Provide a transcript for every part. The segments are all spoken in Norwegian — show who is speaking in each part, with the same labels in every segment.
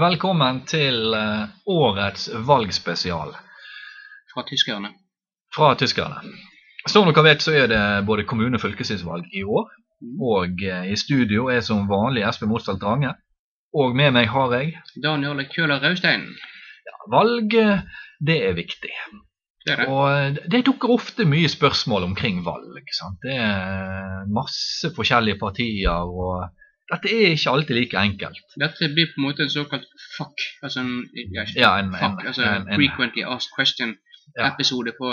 Speaker 1: Velkommen til eh, årets valgspesial
Speaker 2: fra tyskerne.
Speaker 1: fra tyskerne. Som dere vet, så er det både kommune- og fylkestingsvalg i år. Og eh, i studio er som vanlig Espen Mosdal Drange. Og med meg har jeg
Speaker 2: Daniel Køhler Raustein.
Speaker 1: valg. eh, Det er viktig.
Speaker 2: Det er det.
Speaker 1: Og eh, det dukker ofte mye spørsmål omkring valg. Sant? Det er masse forskjellige partier, og dette er ikke alltid like enkelt.
Speaker 2: Dette blir på en måte en såkalt fuck, altså en, ja, ikke
Speaker 1: Ja, en, en,
Speaker 2: fuck, altså
Speaker 1: en, en,
Speaker 2: frequently asked
Speaker 1: Ja.
Speaker 2: question-episode på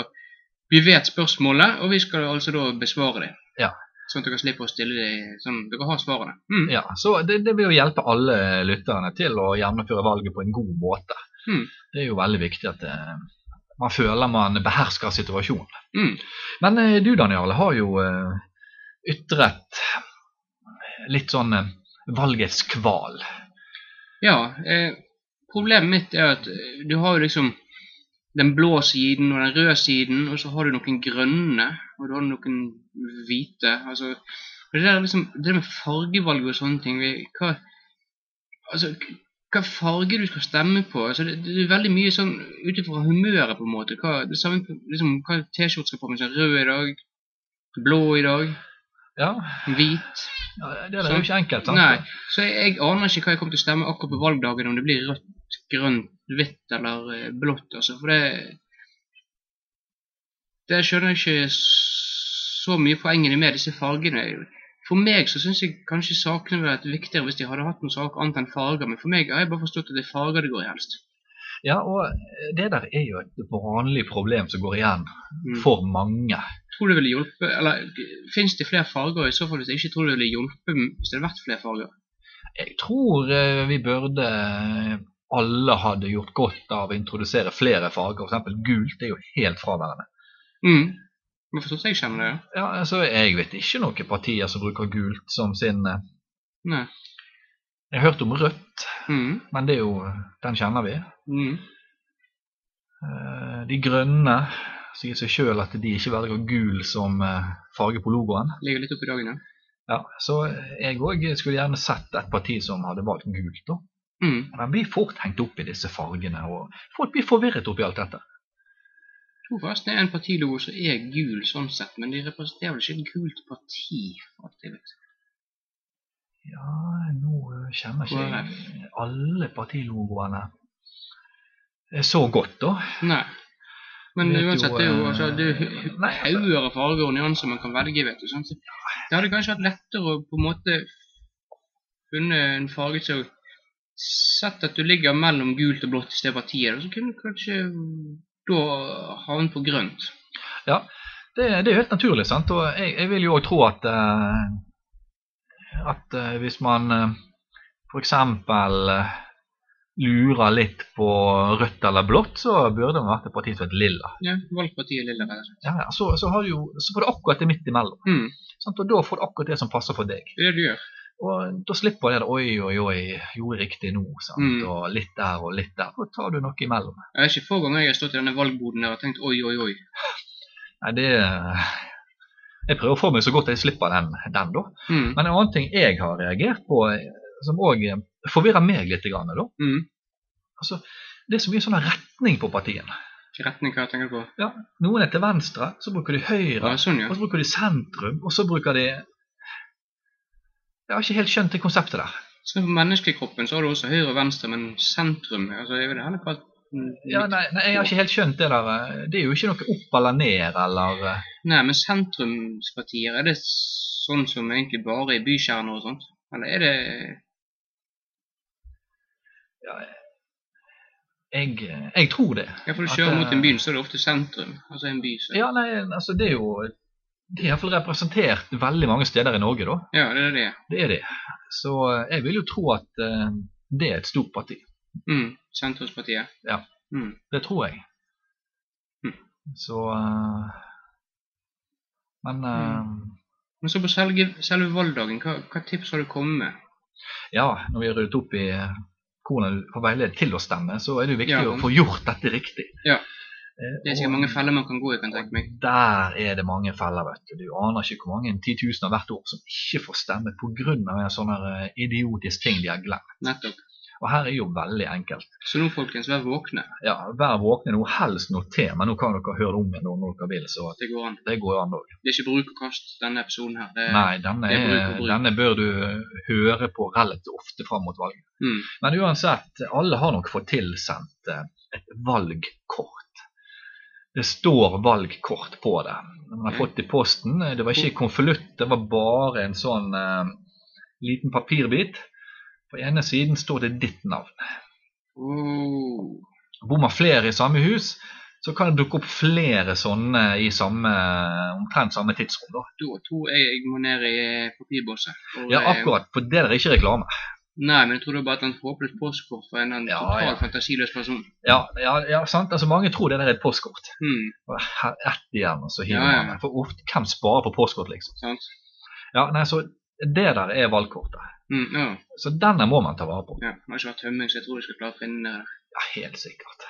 Speaker 2: Vi vet spørsmålet, og vi skal altså da besvare det.
Speaker 1: Ja.
Speaker 2: Sånn at dere slipper å stille det sånn Dere har svarene. Mm.
Speaker 1: Ja, så det, det vil jo hjelpe alle lytterne til å gjennomføre valget på en god måte.
Speaker 2: Mm.
Speaker 1: Det er jo veldig viktig at eh, man føler man behersker situasjonen.
Speaker 2: Mm.
Speaker 1: Men eh, du, Daniel, har jo eh, ytret litt sånn eh, valgets kval.
Speaker 2: Ja. Eh, problemet mitt er at eh, du har jo liksom den blå siden og den røde siden, og så har du noen grønne, og du har noen hvite. Altså, og det, der, er liksom, det med fargevalg og sånne ting vi, hva, altså, k- hva farge du skal stemme på altså, det, det er veldig mye sånn ut ifra humøret, på en måte. Hva, det samme, liksom, hva T-skjorte skal på med seg. Rød i dag, blå i dag,
Speaker 1: Ja,
Speaker 2: hvit.
Speaker 1: det er jo ikke enkelt, sant?
Speaker 2: Nei, så jeg, jeg aner ikke hva jeg kommer til å stemme akkurat på valgdagen, om det blir rødt, grønt, hvitt eller eh, blått, altså, for det Det skjønner jeg ikke s- så mye poengene med disse fargene. For meg så syns jeg kanskje sakene ville vært viktigere hvis de hadde hatt noen sak annet enn farger, men for meg har jeg bare forstått at det er farger det går i helst.
Speaker 1: Ja, og det der er jo et vanlig problem som går igjen
Speaker 2: Mm.
Speaker 1: for mange.
Speaker 2: Tror det ville hjulpe, eller Fins det flere farger? I så fall hvis jeg ikke tror det ville hjulpe hvis det hadde vært flere farger.
Speaker 1: Jeg tror eh, vi burde eh, alle hadde gjort godt av å introdusere flere farger. F.eks. gult er jo helt fraværende.
Speaker 2: Mm. Men forstått jeg kjenner det, ja?
Speaker 1: Ja, altså, Jeg vet ikke noen partier som bruker gult som sin eh,
Speaker 2: Nei.
Speaker 1: Jeg har hørt om rødt,
Speaker 2: Mm.
Speaker 1: men det er jo, den kjenner vi.
Speaker 2: Mm.
Speaker 1: Eh, De grønne sier seg sjøl at de ikke velger gul som eh, farge på logoen.
Speaker 2: Ligger litt opp i dagen, ja.
Speaker 1: Ja, Så jeg òg skulle gjerne sett et parti som hadde valgt gult. da.
Speaker 2: Mm.
Speaker 1: Men vi er fort hengt opp i disse fargene, og folk blir forvirret oppi alt dette.
Speaker 2: tror forresten det er en partilogo som er gul sånn sett, men de representerer vel ikke et gult parti? for alt jeg vet.
Speaker 1: Ja, nå eh, kjenner ikke jeg alle partilogoene eh, så godt, da.
Speaker 2: Nei. Men
Speaker 1: Vet jo,
Speaker 2: uansett, det er jo
Speaker 1: eh,
Speaker 2: altså, det er jo
Speaker 1: nei, altså-
Speaker 2: hauger av farger og nyanser man kan velge, vet du. sant? Så Det hadde kanskje vært lettere å på en måte funne en farge som Sett at du ligger mellom gult og blått i stedet for partiet, og så kunne du kanskje mm, da havne på grønt.
Speaker 1: Det, det er jo helt naturlig, sant? og jeg, jeg vil jo òg tro at eh, at eh, hvis man eh, for f.eks. lurer litt på rødt eller blått, så burde man vært et parti som het lilla.
Speaker 2: Ja, Valg partiet lilla der.
Speaker 1: Ja, ja, så, så, har du jo, så får du akkurat det midt imellom,
Speaker 2: Mm,
Speaker 1: sant? og da får du akkurat det som passer for deg.
Speaker 2: det er det du gjør.
Speaker 1: Og da slipper det der, oi, oi, oi, gjorde jeg riktig nå, sant?
Speaker 2: Mm.
Speaker 1: og litt der og litt der. Da tar du noe imellom.
Speaker 2: Jeg vet ikke få ganger jeg har stått i denne valgboden der og tenkt oi, oi, oi.
Speaker 1: Nei, det Jeg prøver å få meg så godt jeg slipper den, den da.
Speaker 2: Mm,
Speaker 1: Men en annen ting jeg har reagert på, som òg forvirrer meg litt, grann, da.
Speaker 2: mm.
Speaker 1: Altså, det er så mye sånn retning på partiene.
Speaker 2: Retning, hva tenker du på?
Speaker 1: Ja, noen er til venstre, så bruker de høyre,
Speaker 2: Ja, sånn, ja.
Speaker 1: og så bruker de sentrum, og så bruker de Jeg har ikke helt skjønt det konseptet der.
Speaker 2: Så for menneskekroppen så har du også høyre og venstre, men sentrum altså Jeg vil heller kalle det
Speaker 1: Ja, nei, nei, jeg har ikke helt skjønt det der. eh, Det er jo ikke noe opp eller ned eller eh,
Speaker 2: Nei, men sentrumspartier, er det sånn som egentlig bare i bykjerner og sånt? Eller er det
Speaker 1: Jeg, jeg tror det.
Speaker 2: Ja, for du
Speaker 1: At,
Speaker 2: kjører mot en
Speaker 1: eh,
Speaker 2: by, så er det ofte sentrum. Altså en by, så
Speaker 1: Ja, nei, altså, det er jo Det er iallfall representert veldig mange steder i Norge, da.
Speaker 2: Ja, det er det.
Speaker 1: Det er det. Så eh, jeg vil jo tro at eh, det er et stort parti.
Speaker 2: Mm, sentrumspartiet.
Speaker 1: Ja.
Speaker 2: Mm.
Speaker 1: Det tror jeg.
Speaker 2: Mm.
Speaker 1: Så eh, Men eh,
Speaker 2: Hm. Men så på selve, selve valgdagen, hva, hva tips har du kommet med?
Speaker 1: ja, når vi har ryddet opp i eh, hvordan du får veileder til å stemme, så er det jo viktig
Speaker 2: Ja.
Speaker 1: å få gjort dette riktig.
Speaker 2: Ja.
Speaker 1: Eh,
Speaker 2: Det er sikkert
Speaker 1: og-
Speaker 2: mange feller man kan gå i, kan jeg tenke meg.
Speaker 1: og Der er det mange feller, vet du. Du aner ikke hvor mange titusener hvert år som ikke får stemme pga. en sånn her, eh, idiotisk ting de har glemt.
Speaker 2: Nettopp.
Speaker 1: Og her er jo veldig enkelt.
Speaker 2: Så nå, folkens, vær våkne.
Speaker 1: Ja, Vær våkne nå, helst noter, men nå kan dere høre det om igjen når dere vil. Så
Speaker 2: Det går an.
Speaker 1: det går jo an òg.
Speaker 2: Det er ikke bruk og kast denne episoden her. Det,
Speaker 1: Nei, denne,
Speaker 2: Eh, det er bruk og
Speaker 1: er-
Speaker 2: bruk.
Speaker 1: denne bør du høre på relativt ofte fram mot valget.
Speaker 2: Mm.
Speaker 1: Men uansett, alle har nok fått tilsendt eh, et valgkort. Det står valgkort på det. Man har
Speaker 2: Mm.
Speaker 1: fått det i posten. Det var ikke i konvolutt, det var bare en sånn eh, liten papirbit. På ene siden står det ditt navn.
Speaker 2: Oh.
Speaker 1: Bor man flere i samme hus, så kan det dukke opp flere sånne i samme, omtrent samme tidsrom. Da.
Speaker 2: Da tror jeg jeg må ned i papirbosset. Og,
Speaker 1: Ja,
Speaker 2: eh,
Speaker 1: akkurat. For det er ikke reklame.
Speaker 2: Nei, men jeg tror det var bare et eller annet håpløst postkort fra en eller annen
Speaker 1: Ja,
Speaker 2: totalt
Speaker 1: ja.
Speaker 2: fantasiløs person.
Speaker 1: Ja, ja, ja sant? Altså, mange tror det der er et postkort.
Speaker 2: Mm,
Speaker 1: Og her- Ett igjen, og så hiver
Speaker 2: Ja, ja.
Speaker 1: man det. For ofte, hvem sparer på postkort, liksom?
Speaker 2: sant?
Speaker 1: Ja, nei, så Det der er valgkortet.
Speaker 2: Mm, ja.
Speaker 1: Så denne må man ta vare på.
Speaker 2: ja. Det har ikke vært tømming, så jeg tror jeg skal klare å finne det.
Speaker 1: Ja, helt sikkert.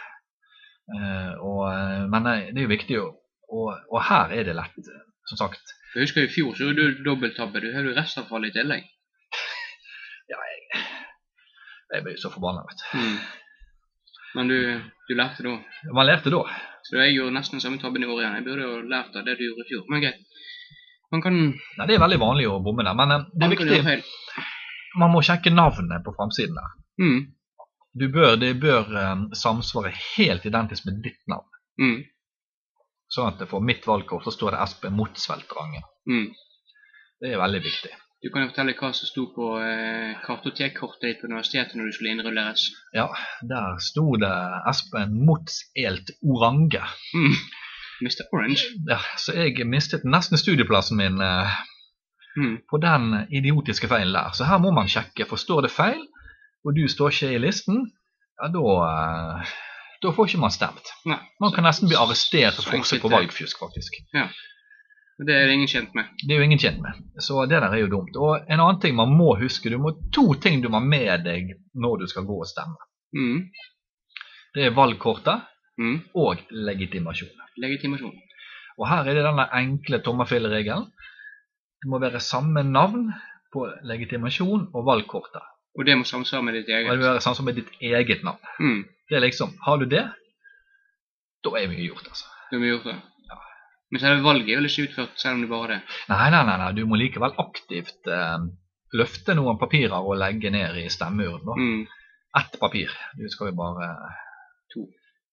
Speaker 1: Eh, og, eh, men eh, det er jo viktig, å- og, og her er det lett, eh, som sagt.
Speaker 2: Jeg husker i fjor så gjorde du dobbelttabbe. Du har jo restavfall i tillegg.
Speaker 1: Jeg blir jo så forbanna, vet
Speaker 2: Mm. Men du, du lærte da.
Speaker 1: du. Man lærte da.
Speaker 2: Så jeg gjorde nesten den samme tabben i år igjen. Jeg burde jo lært av det du gjorde i fjor. Men greit. Man kan,
Speaker 1: Nei, Det er veldig vanlig å bomme der, men eh, det
Speaker 2: man
Speaker 1: er
Speaker 2: kan gjøre
Speaker 1: viktig.
Speaker 2: feil.
Speaker 1: Man må sjekke navnet på framsiden der.
Speaker 2: Mm.
Speaker 1: Du bør, det bør eh, samsvare helt identisk med ditt navn.
Speaker 2: Mm.
Speaker 1: Sånn at for mitt valgkort så står det Espen Motsvelt Rangen.
Speaker 2: Mm.
Speaker 1: Det er veldig viktig.
Speaker 2: Du kan jo fortelle hva som sto på eh, kartotekkortet ditt på universitetet når du skulle innrulleres.
Speaker 1: Ja, der sto det Espen Motzelt Orange.
Speaker 2: Mm. Mr. Orange.
Speaker 1: Ja, så jeg mistet nesten studieplassen min eh,
Speaker 2: Mm.
Speaker 1: på den idiotiske feilen der. Så her må man sjekke. For står det feil, og du står ikke i listen, ja, da eh, da får ikke man stemt.
Speaker 2: Nei.
Speaker 1: Man kan nesten bli arrestert for forsøk på
Speaker 2: Så enkelt er det.
Speaker 1: valgfusk, faktisk.
Speaker 2: Det er ingen kjent med.
Speaker 1: Det er jo ingen tjent med. Så det der er jo dumt. Og en annen ting man må huske, du må to ting du må ha med deg når du skal gå og stemme.
Speaker 2: Mm.
Speaker 1: Det er valgkortet
Speaker 2: Mm.
Speaker 1: og legitimasjon.
Speaker 2: Legitimasjon.
Speaker 1: Og her er det denne enkle tommelfingerregelen. Det må være samme navn på legitimasjon og valgkortet.
Speaker 2: Og det må samsvare med ditt
Speaker 1: Og det
Speaker 2: eget.
Speaker 1: må være samme som med ditt eget navn.
Speaker 2: Mm.
Speaker 1: Det er liksom, Har du det, da er mye gjort, altså.
Speaker 2: Du må gjort det. Men selve valget er vel ikke utført, selv om det bare er det.
Speaker 1: Nei, nei, nei, nei du må likevel aktivt eh, løfte noen papirer og legge ned i stemmeurnen. da.
Speaker 2: Mm.
Speaker 1: Ett papir. Du skal jo bare
Speaker 2: To.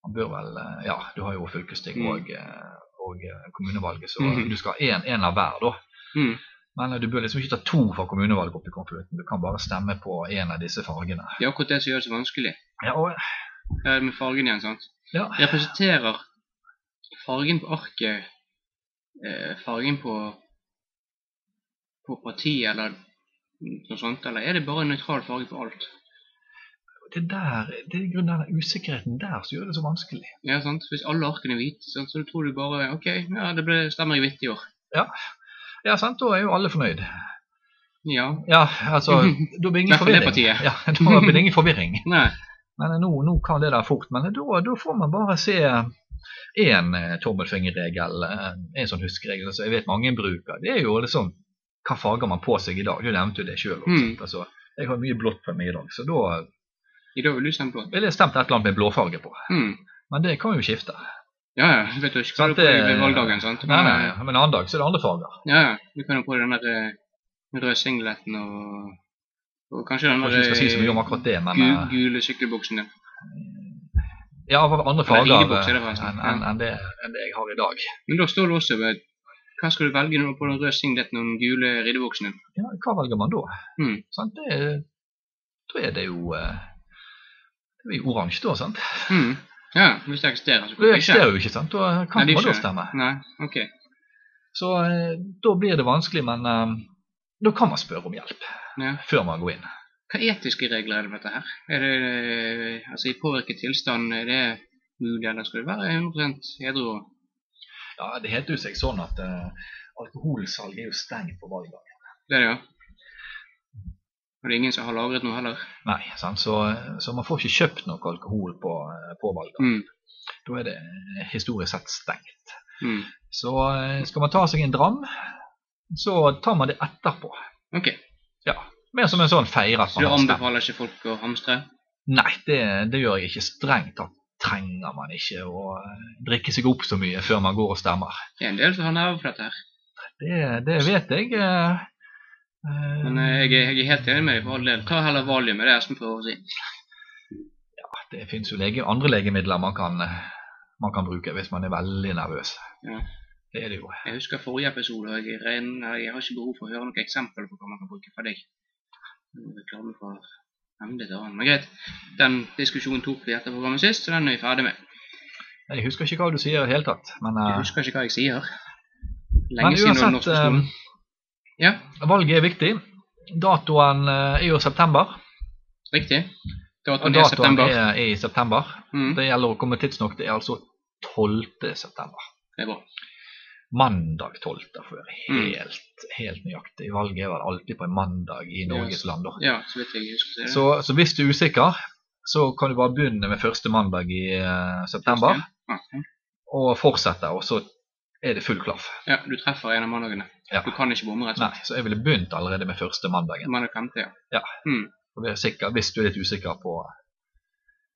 Speaker 1: Man bør vel eh, Ja, du har jo fylkesting
Speaker 2: Mm.
Speaker 1: og, eh, og eh, kommunevalget, så
Speaker 2: Mhm.
Speaker 1: du skal ha én av hver, da.
Speaker 2: Mm.
Speaker 1: Men du bør liksom ikke ta to fra kommunevalget opp i konvolutten. Du kan bare stemme på en av disse fargene.
Speaker 2: Det er akkurat det som gjør det så vanskelig.
Speaker 1: Ja, og,
Speaker 2: Det er med fargen igjen, sant?
Speaker 1: ja.
Speaker 2: Representerer fargen på arket eh, fargen på på partiet eller noe sånt, eller er det bare en nøytral farge på alt?
Speaker 1: Det, der, det er i grunnen den usikkerheten der som gjør det så vanskelig.
Speaker 2: Ja, sant? Hvis alle arkene er hvite, sant? så tror du bare OK, ja, det ble, stemmer jeg hvitt i år.
Speaker 1: Ja, sant, da er jo alle fornøyd.
Speaker 2: Ja.
Speaker 1: Ja, altså, da blir det ingen
Speaker 2: Hvertfall det
Speaker 1: forvirring.
Speaker 2: partiet.
Speaker 1: Ja, da blir det ingen forvirring.
Speaker 2: Nei.
Speaker 1: Men nå, nå kan det der fort. Men da, da får man bare se én tommelfingerregel, en sånn huskeregel som jeg vet mange bruker. Det er jo liksom hva farger man på seg i dag. Du nevnte jo det sjøl.
Speaker 2: Mm.
Speaker 1: Altså, jeg har mye blått på meg i dag, så da
Speaker 2: I dag vil du stemme blått.
Speaker 1: ville jeg stemt et eller annet med blåfarge på.
Speaker 2: Mm.
Speaker 1: Men det kan jo skifte.
Speaker 2: Ja, ja. Vet du ikke hva
Speaker 1: Sant,
Speaker 2: du får
Speaker 1: det-
Speaker 2: ved valgdagen, sant? eh,
Speaker 1: Nei, nei, Eh, Men en annen dag så er det andre farger.
Speaker 2: Ja, ja. Du kan jo på den der eh, røde singleten og, og kanskje den der
Speaker 1: Kanskje vi skal si så mye om
Speaker 2: eh,
Speaker 1: akkurat det, men
Speaker 2: gu-
Speaker 1: eh,
Speaker 2: gule sykkelbuksen din.
Speaker 1: Ja, av andre
Speaker 2: Eller
Speaker 1: farger eh,
Speaker 2: ringebukse, er det forresten.
Speaker 1: enn enn- enn det, enn det jeg har i dag.
Speaker 2: Men da står det også ved hva skal du velge nå på den røde singleten og den gule ridebuksen din?
Speaker 1: Ja, hva velger man da?
Speaker 2: Mm.
Speaker 1: Sant? Det, er- da er det jo eh, Det blir jo oransje, da. sant?
Speaker 2: Mm. Ja, hvis det eksisterer, så
Speaker 1: Det
Speaker 2: hvorfor ikke?
Speaker 1: eksisterer jo ikke, sant? Da kan
Speaker 2: Nei, det
Speaker 1: man da
Speaker 2: skjer.
Speaker 1: stemme.
Speaker 2: Nei, ok.
Speaker 1: Så eh, da blir det vanskelig, men eh, da kan man spørre om hjelp
Speaker 2: Ja.
Speaker 1: før man går inn.
Speaker 2: Hva etiske regler er det med dette her? Er det, eh, altså i påvirket tilstand, er det mulig, eller skal det være 100 edru? og-
Speaker 1: Ja, Det heter jo seg sånn at eh, alkoholsalg er jo stengt på valgdagen.
Speaker 2: Det er det, ja. Og det er ingen som har lagret noe heller.
Speaker 1: Nei, sant? Så, eh, så man får ikke kjøpt noe alkohol på, eh, på valgdagen.
Speaker 2: Mm.
Speaker 1: Da er det eh, historisk sett stengt.
Speaker 2: Mm.
Speaker 1: Så eh, skal man ta seg en dram, så tar man det etterpå.
Speaker 2: Ok,
Speaker 1: Ja, Mer som en sånn feire at
Speaker 2: så du
Speaker 1: man har stemt.
Speaker 2: anbefaler ikke folk å hamstre?
Speaker 1: Nei, det, det gjør jeg ikke. Strengt tatt trenger man ikke å eh, drikke seg opp så mye før man går og stemmer.
Speaker 2: Det er en del som har nerver for dette her.
Speaker 1: Det, det vet jeg. eh, eh,
Speaker 2: Men eh, jeg, er- jeg er helt enig med deg for all del. Ta heller valium, er det Espen prøver å si.
Speaker 1: Det fins jo lege, andre legemidler man kan, eh, man kan bruke hvis man er veldig nervøs.
Speaker 2: Ja.
Speaker 1: Det er det jo.
Speaker 2: Jeg husker forrige episode, og jeg, regner, jeg har ikke behov for å høre noen eksempler på hva man kan bruke fra deg. Reklame for emnet til annen. Men greit, den diskusjonen tok vi etter programmet sist, så den er vi ferdig med.
Speaker 1: Jeg husker ikke hva du sier i det hele tatt. Men, eh,
Speaker 2: Jeg husker ikke hva jeg sier.
Speaker 1: men
Speaker 2: Lenge siden du var
Speaker 1: uansett,
Speaker 2: norsk på skolen. Ja,
Speaker 1: eh, valget er viktig. Datoen eh, er jo september.
Speaker 2: riktig.
Speaker 1: Og
Speaker 2: Datoen er
Speaker 1: datoen
Speaker 2: september.
Speaker 1: er, er i september.
Speaker 2: Mm,
Speaker 1: Det gjelder å komme tidsnok. Det er altså 12. september.
Speaker 2: det er bra.
Speaker 1: Mandag 12. for å være
Speaker 2: Mm.
Speaker 1: helt, helt nøyaktig. Valget er vel alltid på en mandag i Norges
Speaker 2: Yes.
Speaker 1: land. da.
Speaker 2: Ja, så vidt jeg husker. Så,
Speaker 1: Så, så hvis du er usikker, så kan du bare begynne med første mandag i eh, september.
Speaker 2: ja,
Speaker 1: og fortsetter, og så er det full klaff.
Speaker 2: ja, du treffer en av mandagene.
Speaker 1: Ja.
Speaker 2: Du kan ikke bomme, rett og
Speaker 1: Nei,
Speaker 2: slett.
Speaker 1: så jeg ville begynt allerede med første mandagen.
Speaker 2: Mandag femte, ja.
Speaker 1: For det er sikker, hvis du er litt usikker på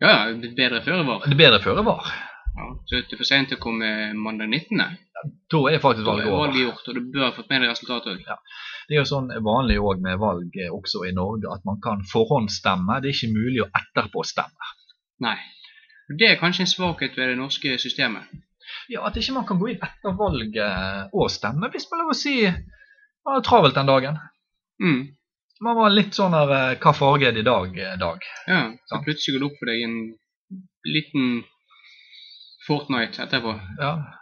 Speaker 2: Ja, ja, bedre før var.
Speaker 1: Det bedre føre var.
Speaker 2: Ja, så det er for sent å komme mandag 19.
Speaker 1: Da er faktisk
Speaker 2: Da er
Speaker 1: valget over.
Speaker 2: valget gjort, og du bør ha fått med deg resultatet òg.
Speaker 1: Det er jo sånn vanlig òg med valg eh, også i Norge at man kan forhåndsstemme. Det er ikke mulig å etterpåstemme.
Speaker 2: Nei. Og Det er kanskje en svakhet ved det norske systemet.
Speaker 1: Ja, At ikke man kan gå inn etter valget og stemme, eh, hvis man lov å si man har travelt den dagen.
Speaker 2: Mm.
Speaker 1: Man var litt sånn her eh, Hva farge er det i dag? eh, dag?
Speaker 2: Ja, så
Speaker 1: Sant.
Speaker 2: plutselig går det opp for deg en liten Fortnite etterpå.
Speaker 1: Ja.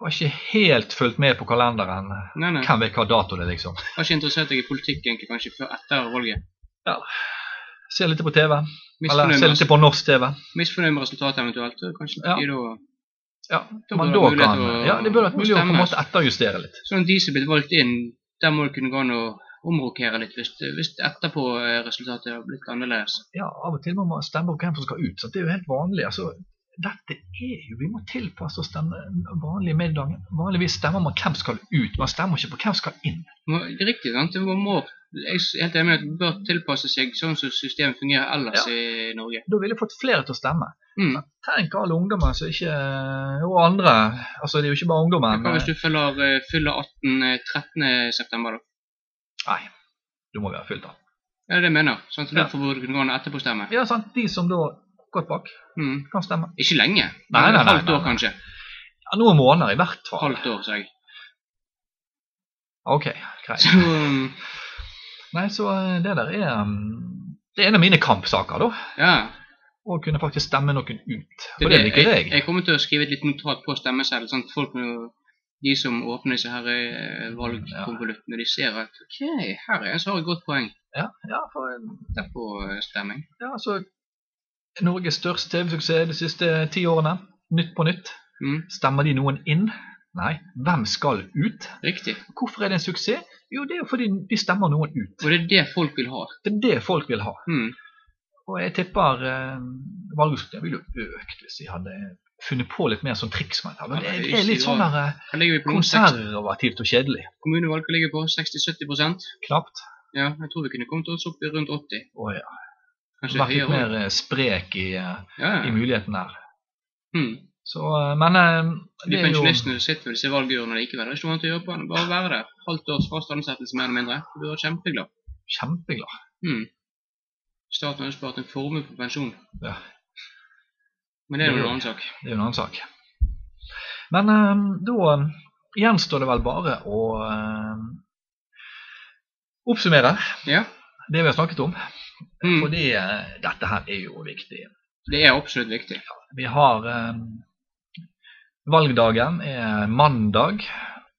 Speaker 1: Har ikke helt fulgt med på kalenderen.
Speaker 2: Nei, nei.
Speaker 1: Hvem vet hva dato det er, liksom.
Speaker 2: Har ikke interessert deg i politikk egentlig kanskje før etter valget.
Speaker 1: Ja. Se litt på TV. Eller
Speaker 2: Misfornøyd
Speaker 1: se
Speaker 2: med,
Speaker 1: litt på norsk TV.
Speaker 2: misfornøyd med resultatet eventuelt. så Kanskje
Speaker 1: Ja.
Speaker 2: ikke da,
Speaker 1: Ja,
Speaker 2: Da
Speaker 1: men
Speaker 2: bør det
Speaker 1: da
Speaker 2: være mulighet
Speaker 1: kan
Speaker 2: å-
Speaker 1: Ja, det burde vært mulig å på en
Speaker 2: bestemme.
Speaker 1: måte etterjustere litt.
Speaker 2: Sånn at de som er blitt valgt inn, der må det kunne gå an å omrokere litt hvis, det- hvis etterpå eh, resultatet har blitt annerledes.
Speaker 1: Ja, Av og til må man stemme på hvem som skal ut. Så det er jo helt vanlig. altså dette er jo, Vi må tilpasse oss den vanlige middagen. Vanligvis stemmer man hvem skal ut, man stemmer ikke på hvem skal inn.
Speaker 2: Må, det er riktig, sant? Man må, jeg er helt enig med at det bør tilpasse seg sånn som systemet fungerer ellers i Norge.
Speaker 1: Da ville jeg fått flere til å stemme.
Speaker 2: Mm.
Speaker 1: Tenk alle ungdommer som ikke Og andre. altså Det er jo ikke bare ungdommen.
Speaker 2: Hva hvis du fyller, eh, fyller 18 eh, 13. september, da?
Speaker 1: Nei, du må være fylt av.
Speaker 2: Ja, det er det jeg mener. Sånn, så
Speaker 1: Ja.
Speaker 2: Derfor burde du kunne gå an å etterpåstemme.
Speaker 1: Ja, sant. De som da gått bak,
Speaker 2: Mm.
Speaker 1: kan stemme.
Speaker 2: Ikke lenge.
Speaker 1: Nei,
Speaker 2: men
Speaker 1: nei,
Speaker 2: et
Speaker 1: nei,
Speaker 2: halvt
Speaker 1: nei,
Speaker 2: år,
Speaker 1: nei.
Speaker 2: kanskje.
Speaker 1: Ja, Noen måneder i hvert fall.
Speaker 2: Halvt år, sa jeg.
Speaker 1: Ok, greit.
Speaker 2: Så, um,
Speaker 1: Nei, så eh, det der er mm, Det er en av mine kampsaker, da.
Speaker 2: ja.
Speaker 1: Å kunne faktisk stemme noen ut. For det liker
Speaker 2: jeg.
Speaker 1: jeg.
Speaker 2: Jeg kommer til å skrive et litt notat på stemmeseddelen, sånn at folk nå de som åpner disse her eh, valgkonvoluttene, de ser at OK, her er en som har et godt poeng.
Speaker 1: Ja, ja, for, eh,
Speaker 2: Derfor eh, stemmer jeg.
Speaker 1: ja, så Norges største TV-suksess de siste ti årene. Nytt på nytt.
Speaker 2: Mm.
Speaker 1: Stemmer de noen inn? Nei. Hvem skal ut?
Speaker 2: Riktig.
Speaker 1: Hvorfor er det en suksess? Jo, det er jo fordi de stemmer noen ut.
Speaker 2: Og det er det folk vil ha.
Speaker 1: Det er det folk vil ha.
Speaker 2: Mm.
Speaker 1: Og jeg tipper eh, valgutskriftene ville jo økt hvis de hadde funnet på litt mer sånn triks med dette. Men det, det er litt sånn der eh,
Speaker 2: Hva ligger vi på nå? Seks-
Speaker 1: konservativt og kjedelig.
Speaker 2: Kommunevalget ligger på 60-70
Speaker 1: Knapt.
Speaker 2: Ja, jeg tror vi kunne kommet oss opp i rundt 80.
Speaker 1: Å ja.
Speaker 2: Kanskje
Speaker 1: Vært litt
Speaker 2: høyere.
Speaker 1: mer eh, sprek i, eh,
Speaker 2: Ja,
Speaker 1: i
Speaker 2: ja.
Speaker 1: muligheten her.
Speaker 2: Mm.
Speaker 1: Så, eh, men eh,
Speaker 2: De
Speaker 1: det er jo
Speaker 2: pensjonistene sitter ved disse valgurnene likevel. Det er ikke noe annet å gjøre på enn å bare være der. Halvt års fast ansettelse mer eller mindre. Du blir kjempeglad.
Speaker 1: kjempeglad.
Speaker 2: Mm. Staten har jo spart en formue på pensjon.
Speaker 1: Ja.
Speaker 2: Men det er
Speaker 1: Det-
Speaker 2: jo en annen sak.
Speaker 1: Det er jo en annen sak. Men eh, da eh, gjenstår det vel bare å eh, oppsummere
Speaker 2: Ja.
Speaker 1: det vi har snakket om.
Speaker 2: Mm.
Speaker 1: Fordi eh, dette her er jo viktig.
Speaker 2: Det er absolutt viktig.
Speaker 1: Vi har eh, Valgdagen er mandag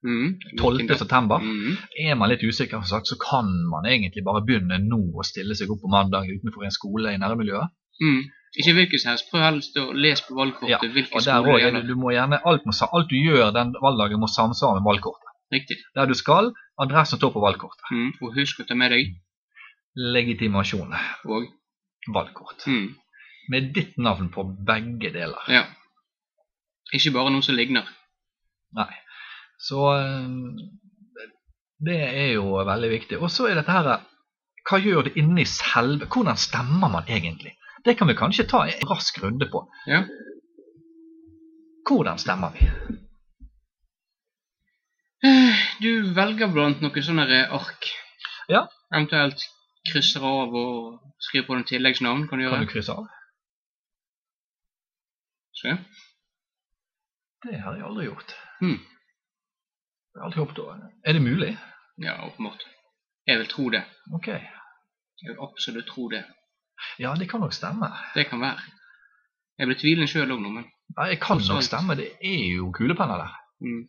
Speaker 2: Mm.
Speaker 1: 12. september.
Speaker 2: Mm.
Speaker 1: Er man litt usikker, som sagt, så kan man egentlig bare begynne nå å stille seg opp på mandag utenfor en skole i nærmiljøet.
Speaker 2: Mm. Ikke hvilken som helst. Prøv helst å lese på valgkortet hvilken
Speaker 1: Og der
Speaker 2: skole
Speaker 1: også
Speaker 2: det
Speaker 1: er det,
Speaker 2: gjelder.
Speaker 1: du må gjerne, alt, må, sa- alt du gjør den valgdagen, må samsvare med valgkortet.
Speaker 2: Riktig.
Speaker 1: Der du skal, adressen står på valgkortet.
Speaker 2: Mm. Og husk å ta med deg
Speaker 1: Legitimasjon.
Speaker 2: og
Speaker 1: Valgkort.
Speaker 2: mm.
Speaker 1: Med ditt navn på begge deler.
Speaker 2: Ja. Ikke bare noe som ligner.
Speaker 1: Nei. Så eh, det er jo veldig viktig. Og så er dette her Hva gjør det inni selve Hvordan stemmer man egentlig? Det kan vi kanskje ta en rask runde på.
Speaker 2: Ja.
Speaker 1: Hvordan stemmer vi?
Speaker 2: Eh, Du velger blant noen sånne her ark.
Speaker 1: Ja.
Speaker 2: Eventuelt krysser av og skriver på en tilleggsnavn. Kan du gjøre
Speaker 1: Kan du
Speaker 2: det?
Speaker 1: krysse av?
Speaker 2: Se.
Speaker 1: Det har jeg aldri gjort.
Speaker 2: Hmm.
Speaker 1: Jeg har aldri hoppet over. Er det mulig?
Speaker 2: Ja, åpenbart. Jeg vil tro det.
Speaker 1: Ok.
Speaker 2: Jeg vil absolutt tro det.
Speaker 1: Ja, det kan nok stemme.
Speaker 2: Det kan være. Jeg ble tvilende sjøl òg nå, men
Speaker 1: Ja, jeg kan nok
Speaker 2: Sant.
Speaker 1: stemme. Det er jo kulepenner der.
Speaker 2: mm,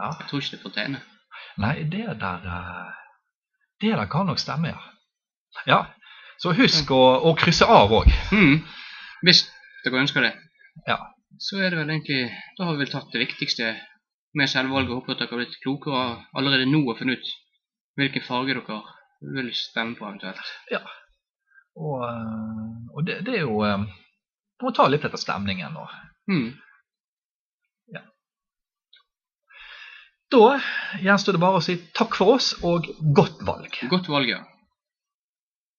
Speaker 1: Ja.
Speaker 2: jeg tror ikke det er for tegne.
Speaker 1: Nei, det der eh, Det der kan nok stemme, ja. Ja, Så husk å, å krysse av òg.
Speaker 2: Mm. Hvis dere ønsker det,
Speaker 1: Ja.
Speaker 2: så er det vel egentlig Da har vi vel tatt det viktigste med selvvalget. Håper at dere har blitt klokere allerede nå og funnet ut hvilken farge dere vil stemme på eventuelt.
Speaker 1: Og, eh, og det, det er jo eh, Du må ta litt etter stemningen nå.
Speaker 2: Mm.
Speaker 1: Da gjenstår det bare å si takk for oss, og godt valg.
Speaker 2: Godt valg, ja.